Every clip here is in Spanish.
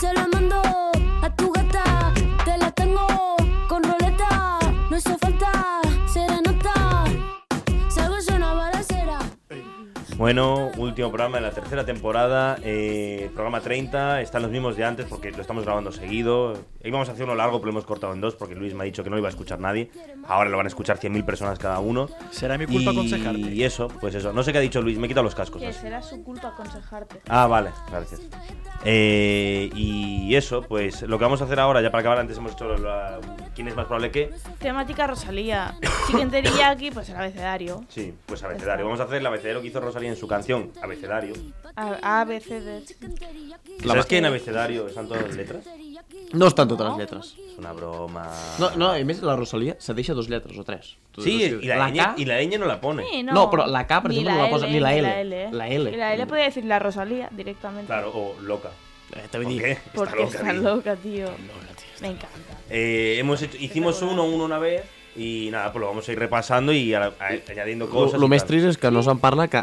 se la mando a tu gata. Te la tengo con roleta. No hizo falta serenata. Salgo yo una balacera. Bueno, último programa de la tercera temporada, eh, programa 30, están los mismos de antes porque lo estamos grabando seguido. Íbamos a hacer uno largo, pero lo hemos cortado en dos porque Luis me ha dicho que no lo iba a escuchar nadie. Ahora lo van a escuchar 100.000 personas cada uno. Será mi culpa y, aconsejarte. Y eso, pues eso. No sé qué ha dicho Luis, me he quitado los cascos. Que así. será su culpa aconsejarte. Ah, vale, gracias. Eh, y eso, pues lo que vamos a hacer ahora, ya para acabar, antes hemos hecho la- quién es más probable que. Temática Rosalía. Chicken Teriyaki, pues el abecedario. Sí, pues abecedario. Vamos a hacer el abecedario que hizo Rosalía en su canción, abecedario. A, A, B, C, D. E, ¿Sabes que en abecedario están todas las letras? No estan totes les lletres. Es una broma. No, no, i més la Rosalia se deixa dos lletres o tres. Tu Sí, dius, y la, ñ, K, y la ñ no la pone. Sí, No, però la K, per Ni exemple, no la posa- ni la L, L. la L. ¿eh? La L. Y la L podría decir la Rosalía directamente. Claro, o loca. Eh, te ¿Por vull dir... qué? Porque loca, está tío. loca, tío. Me encanta. Eh, hemos hecho, hicimos uno, uno una vez y nada, pues lo vamos a ir repasando y a- a- añadiendo cosas. Lo y més tal. trist és que no se'n parla que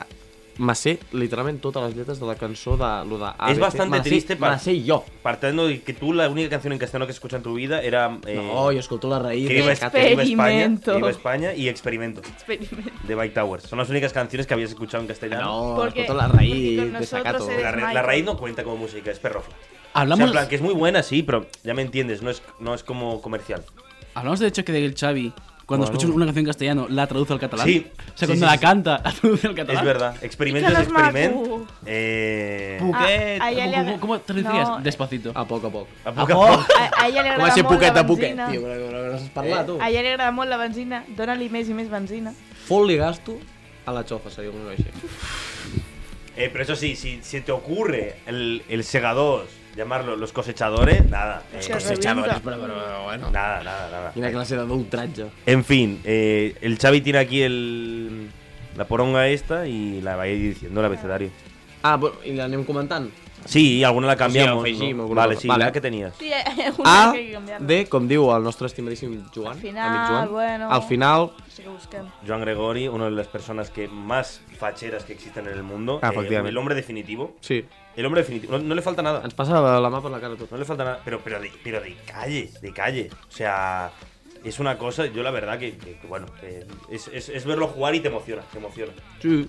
me sé literalment totes les lletres de la cançó de lo de ABC. És bastante Me la sé- triste Me per- la sé jo. Partiendo de que tú la única canción en castellano que escuchas en tu vida era. eh, No, jo escolto la raïs. que viva, de que Cate. viva España, que Experimento. viva España y Experimento Experimento. de Bike Towers. Son las únicas canciones que habías escuchado en castellano. No, Porque- escolto la porque raïs con de Sacato. eh. nosotros La, eres- ra- la raíz no cuenta como música, es perrofla. O sea, Hablamos, en plan, que es muy buena, sí, pero ya me entiendes, no es, no es como comercial. hablamos de hecho que el Xavi, Bueno. cuando escucha una canción en castellano, la traduce al catalán. Sí. O sea, Sí, cuando sí, la sí. canta, la traduce al catalán. Es verdad, experimento Y es que los experimento. macu. Eh, Puc- Ah, Poquet. a ella le ¿Cómo, agra- cómo traducirías? No, Despacito. A poc a poc. a poco a poco. A, a ella le Com a agrada ser molt la Eh, poquet a poquet, benzina. tio. Que no no saps parlar, tu. A ella li agrada molt la benzina. Dóna-li més i més benzina. Fot-li gasto a la xofa, seria un així. Eh, pero eso sí, si se te ocurre el, el segador, llamarlo los cosechadores, nada. eh, Los cosechadores, pero, bueno. Nada, nada, nada. Quina classe de d'ultratge. En fin, eh, el Xavi tiene aquí el, la poronga esta y la va a ir diciendo el abecedario. Ah, bueno, i l'anem comentant? Sí, alguna la cambiamos. afegimos, ¿no? alguna Vale, cosa. sí, Vale. la que tenías. Sí, eh, una A, Ah, que hay que cambiarla. D, com diu el nostre estimadíssim Joan, Al final, amic Joan, bueno. al final, Sí que busquem. Joan Gregori, una de las personas que más facheras que existen en el mundo. Ah, Eh, efectivamente. el hombre definitivo. sí, El hombre definitivo. No, no le falta nada. ens passa la la mà per la cara a tot. eh? No le falta nada, pero, pero, de, pero de calle, de calle. O sea, es una cosa, yo la verdad que, que- que, bueno, eh, es, es- es verlo jugar y te emociona, te emociona. Sí.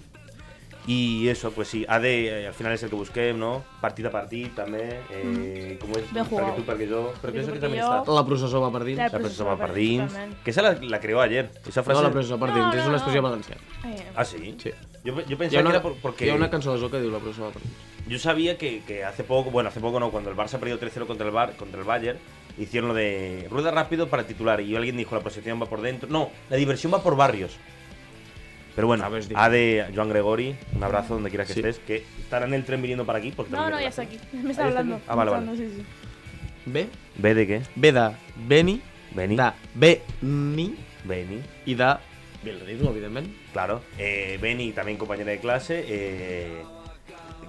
Y eso, pues sí, AD eh, al final es el que busqué, ¿no? Partida a partit también. Eh, ¿Cómo es? Mm. Bien jugado. Perquè tu, perquè jo. Però que Perquè eso tu, que perquè también jo. está. La processó va per dins. La La processó processó va per per dins, dins. totalment. Que esa la, la creó ayer. Esa frase. No, la processó per No, dins, és no, una expressió no. valenciana. Eh, Ah, sí. Sí. Yo, yo Hi ha, pensaba que una, era por- porque. hi ha una cançó de Zoc que diu la processó va per dins. Yo sabía que, que hace poco, bueno, hace poco no, cuando el Barça perdió 3-0 contra el, Bar, contra el Bayern, hicieron lo de rueda rápido para titular. Y alguien dijo, la procesión va por dentro. No, la diversión va por barrios. Pero bueno, Sabes, digo. A de Joan Gregori, un abrazo donde quiera que Sí. estés, que estará en el tren viniendo para aquí. Porque No, también no, viene ya la está aquí. gente. Me está Ahí está hablando. aquí. Ah, vale, Me vale. está hablando, sí, sí. B, ¿Ve de qué? B de Beni, Beni. de Beni Beni, i de Bilritmo, evidentment. claro. Eh, Beni, también compañera de clase. eh,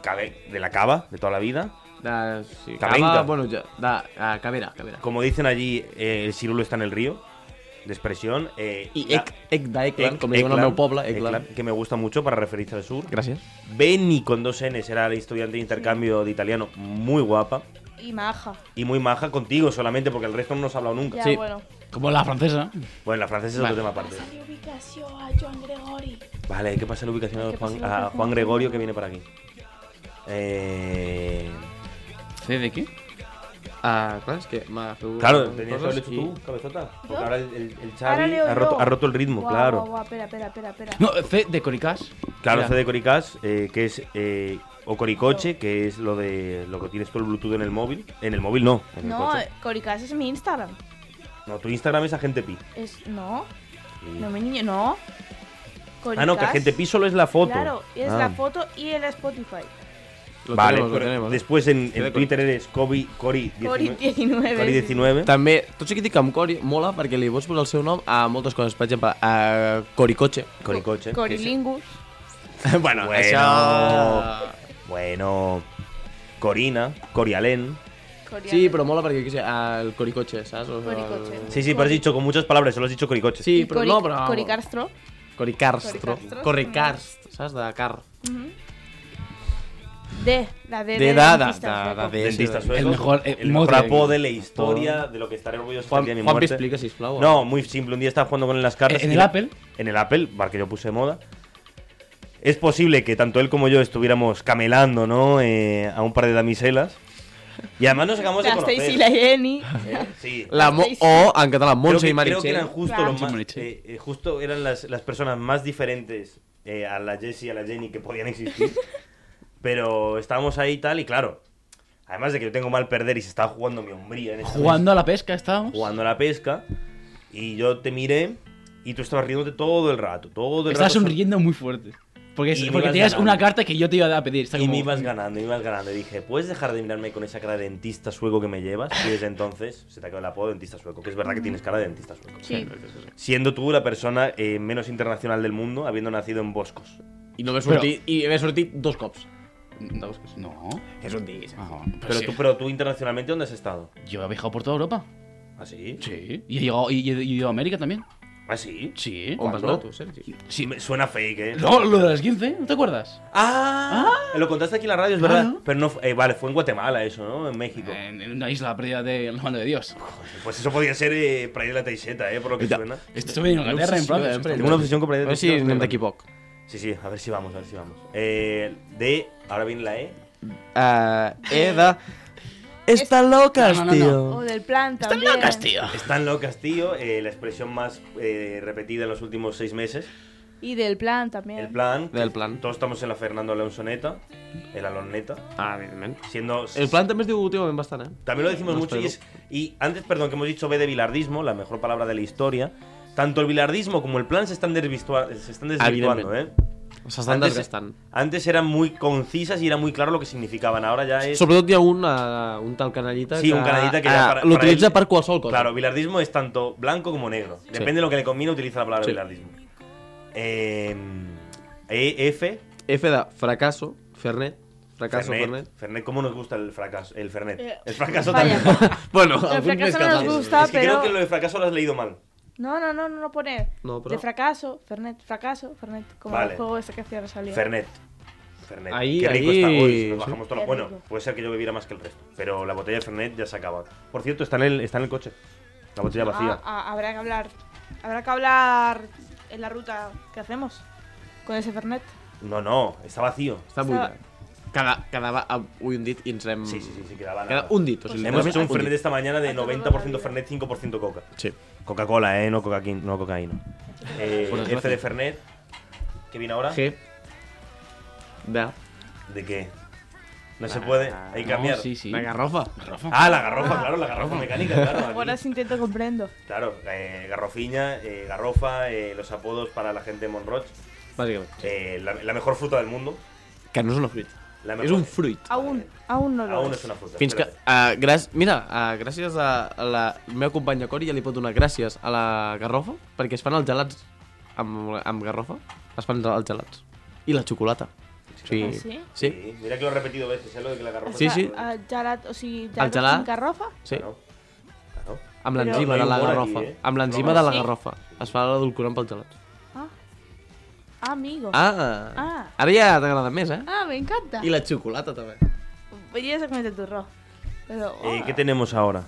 Cabe- de la cava, de toda la vida. De, sí, Cabenca. Cava, bueno, ja, de uh, Cavera, Cavera. Como dicen allí, eh, el cirulo está en el río. De expresión. eh, I la- Ec, Ec Eh, d'Eclan, com li diuen al Eklan, meu poble, Eklan, Eclan. eh, que me gusta mucho para referirse al sur. Gràcies. Benny con dos N's era la estudiante de intercambio de italiano muy guapa Y maja. y muy maja contigo solamente porque el resto no nos ha hablado nunca. Ya, Sí. bueno. Como la francesa. Bueno, la francesa es Vale. otro tema aparte. Vale, hay que pasar la ubicación a que Juan, pasar la a ubicación. Juan Gregorio que viene para aquí. Eh, ¿C de qué? Ah, clar, és que m'ha fet... Claro, tenías que haberlo coses hecho i- tú, cabezota. Porque ¿Yo? ahora el, el- el Ahora Xavi leo ha roto, yo. ha roto el ritmo, Guau, claro. guau, guau, espera, espera, espera, espera. No, C de Coricás. Claro, Mira, CD Coricas, eh, que es eh, Ocoricoche, que es lo de lo que tienes tú el Bluetooth en el móvil. En el móvil no, en el No, coche. eh, Coricas es mi Instagram. No, tu Instagram es Agente Pi. Es. No. No me niñe. No. Ah, no, que Coricas, Agente Pi solo es la foto. Claro, es Ah. la foto y el Spotify. Lo vale, tenemos, lo pero tenemos. después en, en CD Twitter eres Kobe, Cori 19. Cori19. Cori 19. També, tot sí que dic que amb Cori mola perquè li pots posar el seu nom a moltes coses, per exemple, a Coricotxe. Coricoche. que es- Corilingus. bueno, eh, Això... Bueno, Corina, Corialén. Sí, però mola perquè, què sé, el Coricotxe, saps? O, Coricotxe. El... Sí, sí, pero has dicho con muchas palabras, solo has dicho Coricoches. Sí, però no, però... Cori Castro. Coricarstro. Coricarstro. Coricarst, saps? De car. D. La D de, De da, da, dentista da, da, sueco. de... Dentista sí, de- sueco. el mejor, eh, el mejor mote. apodo de la historia de lo que estaré orgulloso hasta el Juan, día de mi Juanpi, muerte. explica, sisplau. No, muy simple. Un día estaba jugando con él las cartas. ¿En y el la- Apple? En el Apple, bar que yo puse de moda. Es posible que tanto él como yo estuviéramos camelando, ¿no? Eh, a un par de damiselas. Y además nos acabamos de La conocer. Stacy y la Jenny. ¿eh? Sí. La mo Sí, sí. o, en català, Creo Montse que, i creo que Meritxell. eran justo, Claro. lo más- Marichel. eh, eh, justo eran las, las personas más diferentes eh, a la Jessie y a la Jenny que podían existir. pero estábamos ahí y tal, y claro. Además de que yo tengo mal perder y se estaba jugando mi hombría en este esta mesa, Jugando a la pesca estábamos. jugando a la pesca. Y yo te miré y tú estabas riéndote todo el rato. Todo el Estás rato. sonriendo muy fuerte. Porque, es- Y me porque ibas tenías ganando. una carta que yo te iba a pedir. Está Y como- "Mm, me ibas ganando, me ibas ganando. Y dije, ¿puedes dejar de mirarme con esa cara de dentista sueco que me llevas? Y desde entonces se te ha quedado el apodo de dentista sueco, que es Mm. verdad que tienes cara de dentista sueco. Sí. Siendo tú la persona eh, menos internacional del mundo, habiendo nacido en Boscos. Pues I no ve sortit, i ve sortit dos cops. Dos cops. No. És un diguis. Ah, bueno, pero Pero, sí. tú, pero tú internacionalmente, ¿dónde has estado? ¿Ah, Yo he viajado por toda Europa. ¿Así? Sí. Y he llegado y, he- y he ido a América también. ¿Así? Sí. On vas Quando? anar tu, Sergi? Sí. ¿Ah, Me suena fake, ¿eh? No, lo de las 15, ¿no te acuerdas? ¡Ah! Lo contaste aquí en la radio, es verdad. Claro. Pero no, fu- eh, vale, fue en Guatemala eso, ¿no? En México. En, en una isla perdida de la mano de Dios. Pues eso podía ser eh, Praia de la Teixeta, ¿eh? Por lo que suena. Estuve en Inglaterra, en Francia. Obsessió, eh, Tengo una obsesión con Praia de A la veure si Teixeta. anem d'aquí poc. Sí, sí, a ver si vamos, a ver si vamos. Eh, de. Ahora viene la E. Uh, he de... Están locas, No, no, no. O tío. del plan también. locas, tío. Están locas, tío. eh, la expresión más eh, repetida en los últimos seis meses. Y del plan también. El plan. que Del plan. Todos estamos en la Fernando Leonsoneta. En la Loneta. Ah, evidentment. Siendo. El plan també es diu últimament bastant, eh? También lo decimos Nos mucho y, pegó. es- y antes, perdón, que hemos dicho B de bilardismo, la mejor palabra de la historia. Tanto el bilardismo como el plan se están, desvistua- se están desvirtuando, ¿eh? S'estan Antes- desgastant. Antes eran muy concisas y era muy claro lo que significaban. Ahora ya es. Sobretot hi ha un, uh, un tal canallita Sí, un canallita que ah, ya para- l'utilitza para per él- qualsevol cosa. Claro, bilardismo es tanto blanco como negro. Depende de lo que le conviene, utiliza la palabra Sí. bilardismo. Eh, E- F. F de fracasso, Fernet. Fracasso, Fernet. Fernet. Fernet, ¿cómo nos gusta el fracaso? El Fernet. Eh, El fracaso vaya. también. bueno, El algun més fracaso que no altre. nos gusta, es que creo pero. que lo de fracaso lo has leído mal. No, no, no, no lo pone. No, pero- De fracaso, Fernet, fracaso, Fernet. Como Vale. el juego ese que hacía Rosalía. Fernet. Fernet. Ahí, Qué rico ahí, está. Uy, nos sí. bajamos todo lo- Qué Bueno, rico. puede ser que yo bebiera más que el resto. Pero la botella de Fernet ya se acaba. Por cierto, está en el, está en el coche. La botella Ah, vacía. ah, habrá que hablar. Habrá que hablar en la ruta que hacemos con ese Fernet. No, no, está vacío. Està buida. Cada, quedava amb un dit i ens hem... Sí, sí, sí, sí quedaba nada. Mm. Queda un dit. O sigui, Hemos hecho un literalment Fernet esta mañana de A todo 90% lo Fernet, 5% coca. dit. Sí. Coca-Cola, ¿eh? No, cocaquín, no cocaína. Eh, Por desgracia. F de Fernet. ¿Qué viene ahora? G. De. ¿De qué? No se puede. Hay que cambiar. No, sí, sí. De garrofa. Ah, la garrofa, claro, la garrofa mecánica, claro. Ahora aquí. sí intento comprendo. Claro, eh, garrofiña, eh, garrofa, eh, los apodos para la gente de Monroch. Bàsicament. Eh, la, la mejor fruta del mundo. Que no és una fruita. La És mejor, un fruit. Aún, aún no lo Aún es. es una fruta. Fins que... espérate. Uh, gràcies, mira, uh, gràcies a la meva companya Cori ja li pot donar gràcies a la garrofa perquè es fan els gelats amb, amb garrofa. Es fan els gelats. I la xocolata. Sí. Ah, sí? Sí. Sí, Mira que lo he repetido veces, ¿eh? Lo de que la garrofa. Sí, O sea, sí. a Jalat, o sigui, El Jalat gelat? en garrofa. sí. Claro, claro. Amb Però- l'enzima de la Hi ha humor aquí, garrofa. eh? Amb l'enzima de la Sí. garrofa. Es fa l'edulcorant pels gelats. Ah. Amigo. Ah! Ah. Ara ja t'agrada més, eh? Ah, me encanta. I la xocolata, també. Oye, eso que me turró. Pero, Eh, ah, ¿Qué tenemos ahora?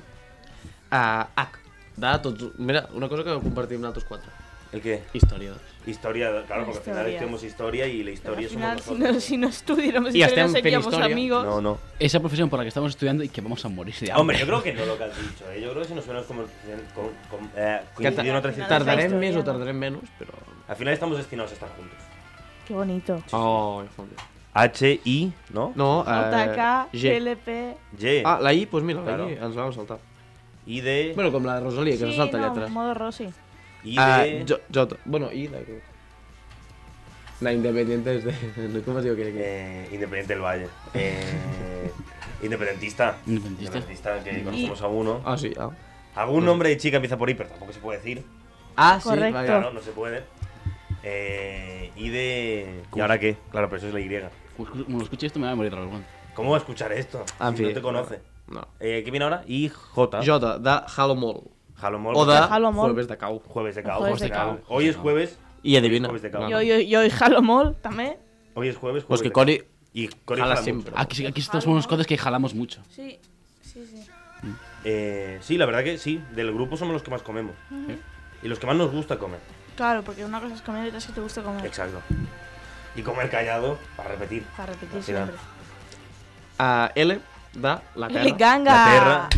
Ah, H. De tots... Mira, una cosa que compartim nosaltres quatre. ¿El qué? Història. Historia, claro, porque al final Historia. tenemos historia y la pero historia al final, somos si no, nosotros. si no estudiáramos Y historia, no hacen seríamos prehistoria. amigos. No, no. Esa profesión por la que estamos estudiando y que vamos a morir de hambre. Hombre, yo creo que no lo que has dicho, ¿eh? Yo creo que si nos hubiéramos como, con, con, eh, Que ta- coincidido en otras circunstancias, tardarem història, més o no? tardarem menys, però... al final estamos destinados a estar juntos. Qué bonito. Oh, que fòbia. H, I, ¿no? No, eh, JK, G. LP. Y. Ah, la I, doncs mira, la Claro. I ens la vam saltar. I de. Bueno, com la de Rosalia, que se salta no, lletres. modo Rosy. I Ah, de. J, J, bueno, I de... La independiente es de... Com es diu aquell equip? eh, Independiente del Valle. Eh, independentista. Independentista. Independentista, que conocemos a uno. Ah, sí, ah. Algún nombre de chica empieza por I, pero tampoco se puede decir. Ah, sí, Correcto. vale. Claro, no se puede. Eh, y de. ¿Y ahora qué? Claro, pero eso es la Y. Como lo escuche esto me va a morir Raúl. ¿Cómo va a escuchar esto? Ah, En Si fi. no te conoce. Ah. No. Eh, ¿Qué viene ahora? Y J. Jota, de Halo Mall. Jalomol. O de Halomol. Jueves de Cau. Jueves de caos. Jueves de Cao. Hoy es jueves. I adivina. Jueves de Cau. Jo, jo, jo i Halomol, també. Hoy es jueves. Pues jueves que de Cori... Cao. Y Cori jala jala mucho. siempre. Aquí, sí- aquí estos son unos codes que jalamos mucho. Sí, sí, sí. Eh, sí, la verdad que sí. Del grupo somos los que más comemos. Y los que más nos gusta comer. Claro, porque una cosa es comer y otra es que te gusta comer. Exacto. Y comer callado para repetir. Para repetir Sí, va. siempre. A Ah, L de La El Terra. ganga. La terra.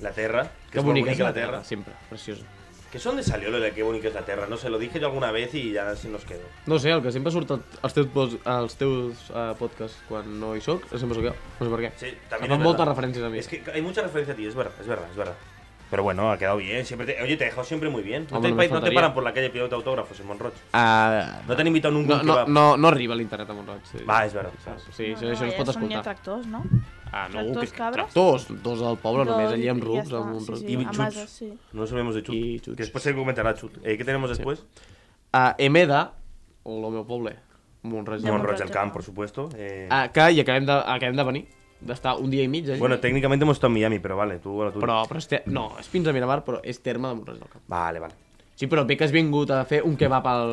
La terra. Que, Que es bonica bonica és la la terra. Sempre, preciosa. Que son de salió lo de qué bonica es la terra. No sé, lo dije yo alguna vez y ya se nos quedó. No sé, el que sempre surt als teus, pos- als teus uh, podcasts quan no hi soc, sempre sóc jo. No sé per què. Sí, Em también fan es moltes verdad. referències a mi. Es que hay mucha referencia a ti, es verdad, es verdad, es verdad. Pero bueno, ha quedado bien. Siempre te- Oye, te he dejado siempre muy bien. No, Hombre, te, no me te faltaría. paran por la calle pidiendo autógrafos en Monroch. Uh, No te han invitado nunca a no, un no, kebab. no, no arriba l'internet a Montroig. Sí. Va, és veritat. Saps? Sí, no, això, això es ja són pot ja escoltar. tractors, eh, no? Ah, no, tractors, que, cabres? tractors, dos del poble, Dos només i- allí amb i rucs, ja està, amb un sí, ruc. sí, Y amb chuts. ases, sí. No sabemos de chut. Y chuts. Que después se comentará chut. Eh, ¿Qué tenemos después? A Emeda, o el meu poble, Montroig. Monroch Monroch del del Camp, Camp. por supuesto. Eh, Ah, que hi acabem de, acabem de venir, d'estar un dia i mig allí. bueno, técnicamente hemos estado en Miami, pero vale, tú, bueno, tú. Però, però este... no, és fins a Miramar, però és terme de Montroig del Camp. Vale, vale. Sí, però bé que has vingut a fer un kebab al...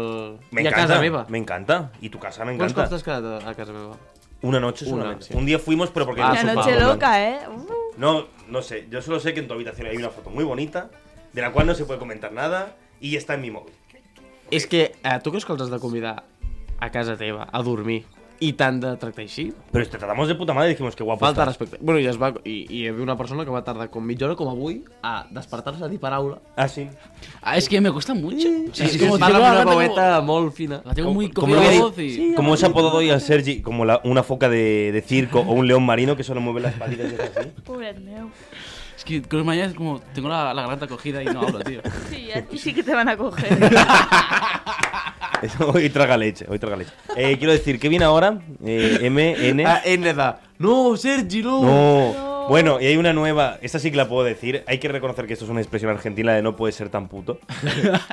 Me I a encanta. casa meva. Me encanta. Y tu casa me Quants encanta. cops t'has quedat a, a casa meva? Una noche Una, solamente. sí. Un día fuimos, pero porque. Ah, La sí, noche va, loca, ¿eh? Uh, No, no sé. Yo solo sé que en tu habitación hay una foto muy bonita, de la cual no se puede comentar nada, y está en mi móvil. És que eh, tu creus que els has de convidar a casa teva, a dormir, i t'han de tractar així? Pero te tratamos de puta madre y dijimos que guapo. Falta de estás. respecte. Bueno, i, es va, i, i hi havia una persona que va tardar com mitja hora, com avui, a despertar-se a dir paraula. Ah, sí. Ah, es que me cuesta mucho. O sea, Sí, es sí, sí, como parla decirlo, amb una la tengo- paueta molt fina. La tengo muy Como, cogida la lo que- voz y... como es apodado hoy al Sergi, como la- una foca de, de circo o un león marino que solo mueve las patitas y hace así. pobret meu. Es que con los mañanas como tengo la, la garganta cogida y no hablo, tío. Sí, a ti sí que te van a coger. Eso, hoy traga leche, hoy traga leche. Eh, quiero decir, ¿qué viene ahora? Eh, M, N. Ah, N de... No, Sergi, no! No. No. Bueno, y hay una nueva, esta sí que la puedo decir. Hay que reconocer que esto es una expresión argentina de no puede ser tan puto.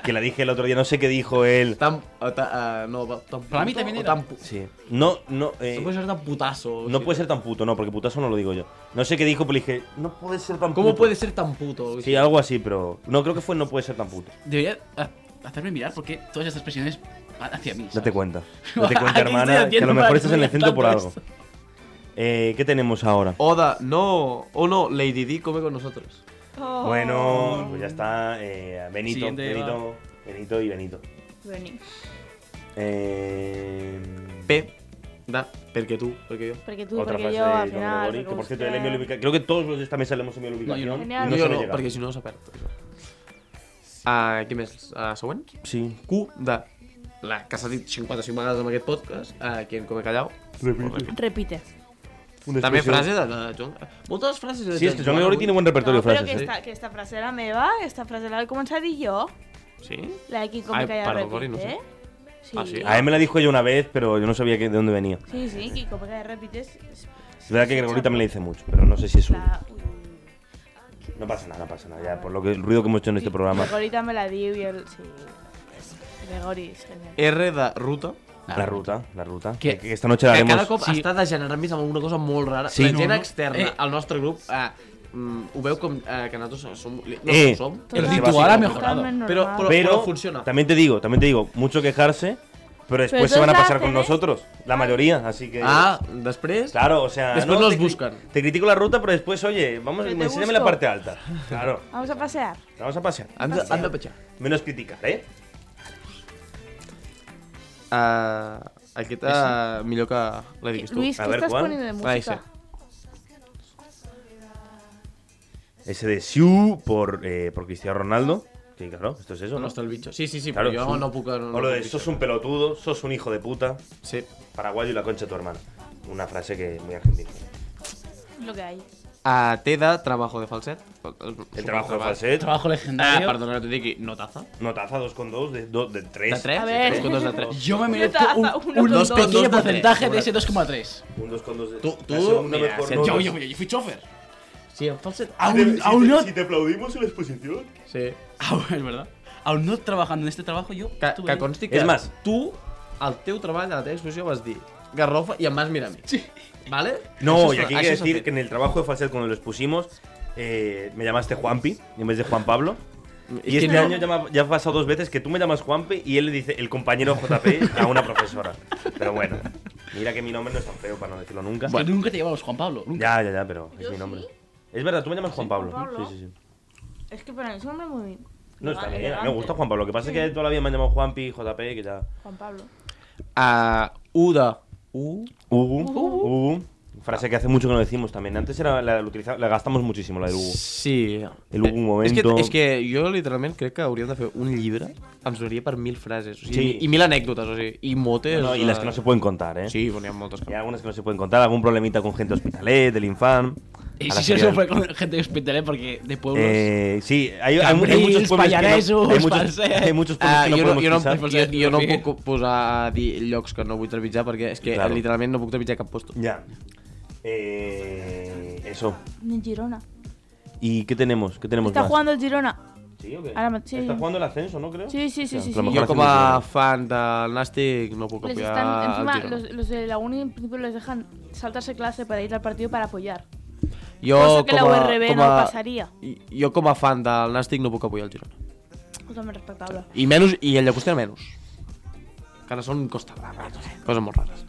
que la dije el otro día, no sé qué dijo él. Tan, uh, ta, uh, no, tan Para mí puto también o era. Tan pu- Sí. No, no. eh, No puede ser tan putazo. no puede ser tan puto, no, porque putazo no lo digo yo. No sé qué dijo, pero dije, no puede ser tan puto. ¿Cómo puede ser tan puto? Sí, algo así, pero. No, creo que fue no puede ser tan puto. Debería ha- hacerme mirar porque todas estas presiones van hacia mí. ¿sabes? Date cuenta. Date cuenta, ¿Qué estoy hermana, haciendo que a lo para mejor que estás en el me centro por tanto algo. esto? Eh, ¿Qué tenemos ahora? Oda, no. Oh no, Lady D come con nosotros. Oh. Bueno, pues ya está. eh, Benito, Siguiente, Benito, Benito y Benito. Vení. Eh, P. Da, porque tú, porque yo. Porque tú, otra porque frase yo, de al John final. Gregori, que por porque cierto, él envió la usted- ubicación. Creo que todos los de esta mesa le hemos enviado la No, yo ubicación. y no. Genial. no yo se no, lo llega. porque si no se perd. Ah, què més? Ah, següent? Sí. Q de la que s'ha dit 55 vegades en aquest podcast, ah, qui en come callau. Repite. Una També expresión. frase de, de John... Moltes frases de Sí, es que John John Gregory tiene buen repertorio No, de pero frases. que ¿eh? esta, que esta frase era meva, esta frase la he comenzado y yo. Sí? La de Kiko me Ay, calla perdón, Cori, repite. no sé. Sí. Ah, sí. A él me la dijo ella una vez, pero yo no sabía que- de dónde venía. sí, sí, Kiko me calla repite. Es, es- Es verdad que Gregory también le dice mucho, pero no sé si es un. la- uy, uy. No pasa nada, no pasa nada. Ya, por lo que el ruido que hemos hecho en este Sí, programa. Gregori también la dio y el. Sí. Gregori es genial. R de ruta. La ruta, la ruta. Que- Que, que esta noche la que haremos. cada cop Sí. està degenerant més amb una cosa molt rara. Sí. la gent No, no. externa Eh. al nostre grup eh, mm, ho veu com eh, que nosaltres som... No, Eh. no ho som. El Total- ritual ha Totalmente mejorado. normal. Pero- Pero pero- Pero funciona. también te digo, también te digo, mucho quejarse, pero después Pero se van a todos pasar la con hacen, ¿eh? nosotros, la mayoría, así que. Ah, després... Claro, o sea. Después nos te cri- buscan. Te critico la ruta, pero después, oye, vamos, Pero te enséñame busco. la parte alta. Claro, Vamos a pasear. vamos a pasear. Han de, han de petjar. Menos criticar, ¿eh? Uh, aquest uh, millor que la diguis tu. Luis, A ¿qué ver, estás ¿cuál? poniendo de Ahí música? sí. Ese de Siu por, eh, por Cristiano Ronaldo. Sí, claro, esto es eso, No ¿no? està el bitxo. Sí, sí, sí, Claro, però és jo un- no puc... No, o lo no de puc sos un pelotudo, sos un hijo de puta, Sí. paraguayo y la concha de tu hermana. Una frase que muy argentina. Lo que hay. Uh, té de trabajo de falset. El trabajo de falset. falset, Trabajo Ah, legendario. perdona que t'ho digui, no taza. notaza 2,2 de, do- de 3. De 3? A ver. Dos con dos de 3. Yo me merezco Yo un, taza, un, uno con dos. Dos de pequeño tres. porcentaje de ese 2,3. Un 2,2 de... Tú- tú, La segunda mira, mejor si- no, Yo, dos. yo, yo fui chofer. Ah, Sí, en falset. Aún, aún no. te aplaudimos en la exposición. Sí. Aún, es verdad. Aún no trabajando en este trabajo, yo. Que, tuve- que consti que És més. tu, al teu treball, a la teva exposició, vas dir garrofa y además mira a mí. ¿Vale? Eso No, es- y aquí eso hay que es decir hacer. que en el trabajo de Falset, cuando los pusimos, eh, me llamaste Juanpi en vez de Juan Pablo. Es Y que este no- año ya, me ha- ya ha pasado dos veces que tú me llamas Juanpi y él le dice el compañero JP a una profesora. Pero bueno, mira que mi nombre no es tan feo para no decirlo nunca. Es que nunca te llamamos Juan Pablo. Ya, Nunca. ya, ya, pero es mi nombre. Es verdad, tú me llamas Juan Pablo. Juan Pablo. Sí, sí, sí. Es que para mí es un nombre muy. No, está bien, a mí elegante. me gusta Juan Pablo. Lo que pasa es que toda la vida me han llamado Juanpi, JP, que ya. Juan Pablo. A Uda. Ah, U. Ugu, Ugu. Frase que hace mucho que no decimos también. Antes era la, la utiliza- la gastamos muchísimo, la del Ugu. Sí. El Hugo un Eh, momento. És que, és que jo literalment crec que hauríem de fer un llibre, ens donaria per mil frases, o sigui, Sí. sí. i mil anècdotes, o sigui, i motes... No, y las que no se pueden contar, ¿eh? Sí, poníem moltes Hay coses. algunas que no se pueden contar, algún problemita con gente hospitalet, del infam. a Y si la se salida eso fue del- con gente de hospital, ¿eh? porque de pueblos. Eh, sí, hay, hay, mu- hay muchos pueblos Cambrils, que no- Pallaresos, hay muchos, Falset. hay muchos pueblos Ah, que no jo, no, podemos jo, no, pisar. em puc- jo, jo no em Filosofia. puc posar a dir llocs que no vull trepitjar perquè és que Claro. claro. literalment no puc trepitjar cap posto. Ya. Eh, eso. Ni Girona. ¿Y qué tenemos? ¿Qué tenemos Está más? jugando el Girona. ¿Sí, o qué? Ahora me- sí. Está jugando el ascenso, ¿no creo? Sí, sí, sí, O sea, sí, que a lo sí. mejor Jo com a hacemos fan del Nàstic no puc Les apoyar están, encima, el Girona. los, los de la uni en principio les dejan saltarse clase para ir al partido para apoyar. Jo cosa que la com a, URB com no a, passaria. Jo com a fan del Nàstic no puc apoyar el Girona. Cosa muy respetable. I menys, i el llagostera menys. Que ara són Costa Brava, no sé, coses molt rares.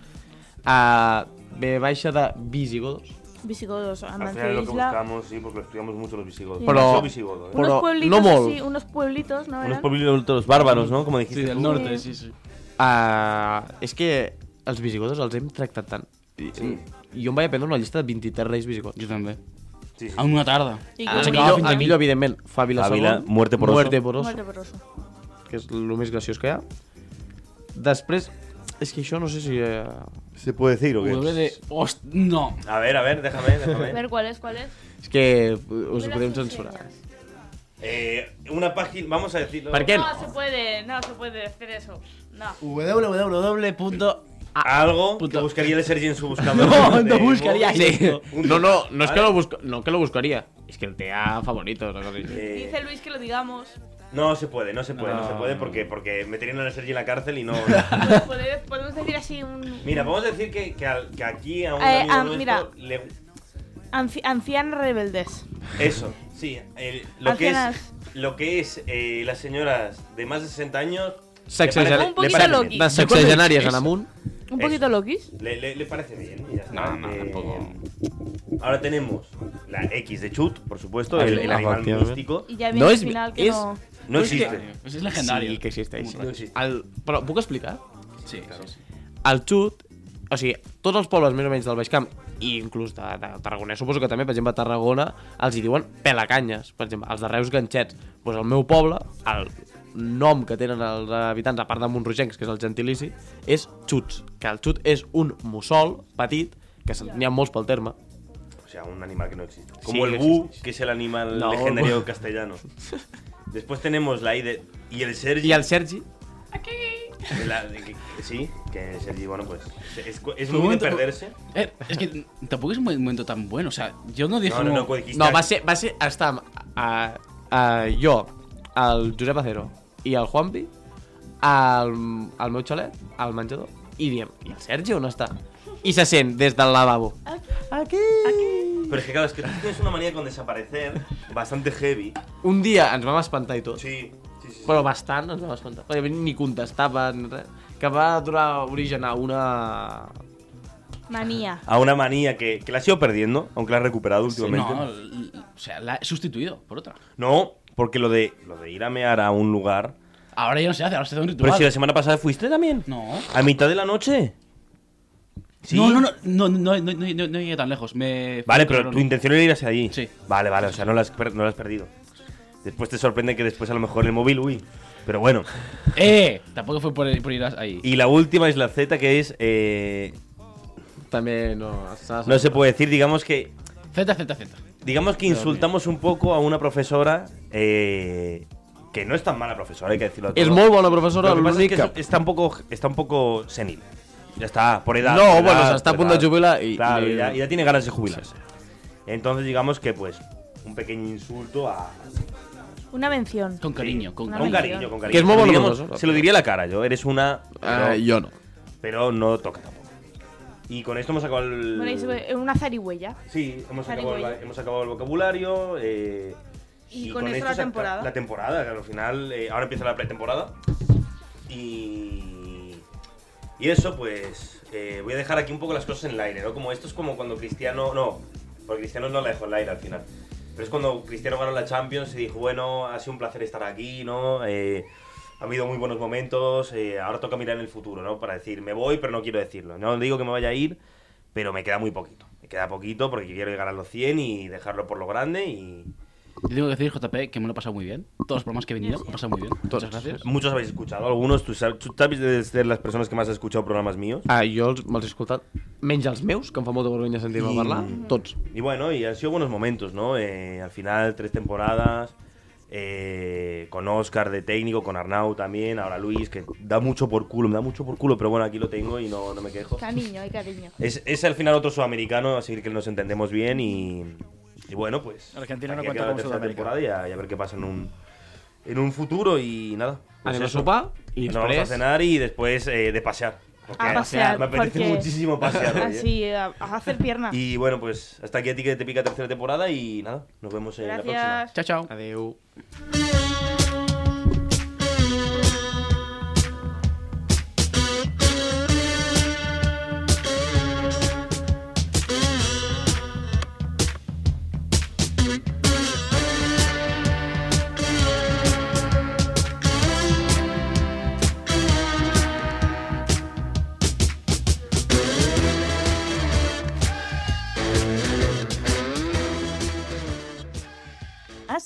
Uh, B baixa de visigodos. Visigodos, Al final Amancio lo que Isla. visigodos. sí, porque lo estudiamos mucho los visigodos. Pero- Demasiado visigodo, ¿eh? Por- unos Però pueblitos no así, molt. unos pueblitos, ¿no? Unos eran? pueblos de los bárbaros, ¿no? Como dijiste. Sí, del tú. norte, sí, sí. Uh, és que els visigodos els hem tractat tant. Sí. Jo em vaig aprendre una llista de 23 reis visigodos. Yo también. Sí, sí. A una tarda. I Ah, com El S'acaba millor, fins el aquí. millor, evidentment, Fàvila Fàbila, II. Muerte por oso. Muerte por oso, Molt doloroso. que és el més graciós que hi ha. Després, és que això no sé si... Eh, ¿Se puede decir o W qué? de. Host... No. A ver, a ver, déjame, A déjame. ver, ¿cuál es? ¿Cuál es? és que eh, us ho Las podem enseñas. censurar. Eh, una página, vamos a decirlo. Per què no? No se puede, no se puede hacer eso. No. www. Algo Puta. que buscaría de Sergi en su buscador. No, de no buscaría móvil. eso. No, no, no es que lo busco, no que lo buscaría. Es que te ha favorito, no sé. Eh, Dice Luis que lo digamos. no se puede, no se puede, no, se No. puede porque, porque meterían a Sergi en la cárcel y no. Pues poder- Podemos decir así un Mira, vamos a decir que, que, al- que aquí a un Eh, amigo ah, nuestro mira. le- anci- anciano rebeldes. Eso, sí. el- lo, que es, Ancianas. lo que es eh, las señoras de más de 60 años. le Sexagena- parece- Un le poquito parece- loqui. de sexagenàries en amunt. Un Eso. poquito loquis. Le, le- le parece bien. y ya está. No, no, Eh, tampoco. Ahora tenemos la X de Chut, por supuesto, El- el, el animal abastión. místico. Y ya No viene es el mi- final que es- no. No existe. Pues es legendario. Sí, que existeix. No existe. El, però puc explicar? Sí, claro. Sí. El xut, o sigui, tots els pobles més o menys del Baix Camp, i inclús de, de Tarragona, suposo que també, per exemple, a Tarragona, els hi diuen pelacanyes, per exemple, els de Reus ganxets. Doncs pues el meu poble, el nom que tenen els habitants, a part de Montrogencs, que és el gentilici, és xuts, que el xut és un mussol petit, que se- n'hi ha molts pel terme, O sea, un animal que no existe. Sí, Como el no bu, existe. que es el animal No, legendario bu. castellano. Después tenemos la I de. Y el Sergi. i el Sergi, de la- de que- que- sí, que el Sergi, bueno, pues. Es, es Fue muy de momento- perderse. Eh, es que tampoco es un momento tan bueno. O sea, yo no dije. No, no, no, como- dijiste- No, va ser, va ser estar amb a, a, jo, el Josep Acero i el Juanpi al, al meu xalet, al menjador, i diem, i el Sergi on està? I se sent des del lavabo. Aquí. Pero es que, claro, es que tú tienes una manía con desaparecer bastante heavy. Un dia ens vam espantar i tot, sí. Sí, sí, sí. però bastant ens vam espantar, perquè ni contestaven, res, que va donar origen a una... Manía. A una manía que, que la has ido perdiendo, aunque la has recuperado últimamente. No, l- l- o sea, la he sustituido por otra. No, porque lo de, lo de ir a mear a un lugar. Ahora ya no se hace, ahora se hace un ritual. Pero si la semana pasada fuiste también. No. ¿A mitad de la noche? No, no, no, no, no, no, no, no llegué tan lejos. Me... Vale, pero Cabrón. tu intención era ir hacia allí. Sí. Vale, vale, o sea, no lo has, per- no lo has perdido. Después te sorprende que después a lo mejor el móvil, uy. Pero bueno. ¡Eh! Tampoco fue por, por ir ahí. Y la última es la Z, que es. eh, També no... s'ha- no se puede decir, digamos que. Z, Z, Z. Digamos que insultamos un poco a una profesora. eh, que no es tan mala profesora, hay que decirlo a És todos. molt bona Lo professora, que pasa es l'únic que que... es- está un poco, está un poco senil. Ya está, por edad. No, por bueno, edad, se está a por punto de edad. jubilar y- Claro, y- ya, ya tiene ganas de jubilarse. Entonces, digamos que, pues, un pequeño insulto a. Una mención. Con cariño, con Una Con mención. cariño, con cariño. Que es muy Se lo bondadoso, diríamos- ¿no? Eh, Se lo diría a la cara yo. Eres una. Ah, pero- jo no. Pero no toca tampoco. Y con esto hemos acabado el. Bueno, y sube una zarigüeya. Sí, hemos acabado, el, Zarigüeya. hemos acabado el vocabulario. eh, Y con esto la se acaba- temporada. La temporada, que al final. eh, ahora empieza la pretemporada. Y. Y eso, pues. eh, voy a dejar aquí un poco las cosas en el aire, ¿no? Como esto es como cuando Cristiano. No, porque Cristiano no la dejó en el aire al final. Pero es cuando Cristiano ganó la Champions y dijo, bueno, ha sido un placer estar aquí, ¿no? Eh, ha habido muy buenos momentos, eh, ahora toca mirar en el futuro, ¿no? Para decir, me voy, pero no quiero decirlo. No digo que me vaya a ir, pero me queda muy poquito. Me queda poquito porque quiero llegar a los 100 y dejarlo por lo grande y... Yo tengo que decir, JP, que me lo he pasado muy bien. Todos los programas que he venido, me he pasado muy bien. Muchas gracias. Muchos habéis escuchado, algunos, tú sabes, tú sabes de ser las personas que más has escuchado programas míos. Ah, jo els, me'ls he escoltat, menys els meus, que em fa molta vergonya sentir-me I- parlar, tots. Y bueno, y han sido buenos momentos, ¿no? Eh, al final, tres temporadas, eh, con Oscar de técnico, con Arnau también, ahora Luis, que da mucho por culo, me da mucho por culo, pero bueno, aquí lo tengo y no, no me quejo. Cariño, hay cariño. Es, es al final otro sudamericano, así que nos entendemos bien y, y bueno, pues... Argentina no aquí cuenta acaba la como tercera Sudamérica. temporada Y a, y a ver qué pasa en un, en un futuro y nada. pues Anem a eso. sopar i Nos vamos a després... cenar y después eh, de pasear. porque A pasear, Me apetece porque- muchísimo pasear. oye. Así, a, a hacer pierna. Y bueno, pues hasta aquí a ti que te pica tercera temporada y nada, nos vemos en la próxima. Gracias. Chao, chao. Adeu. Has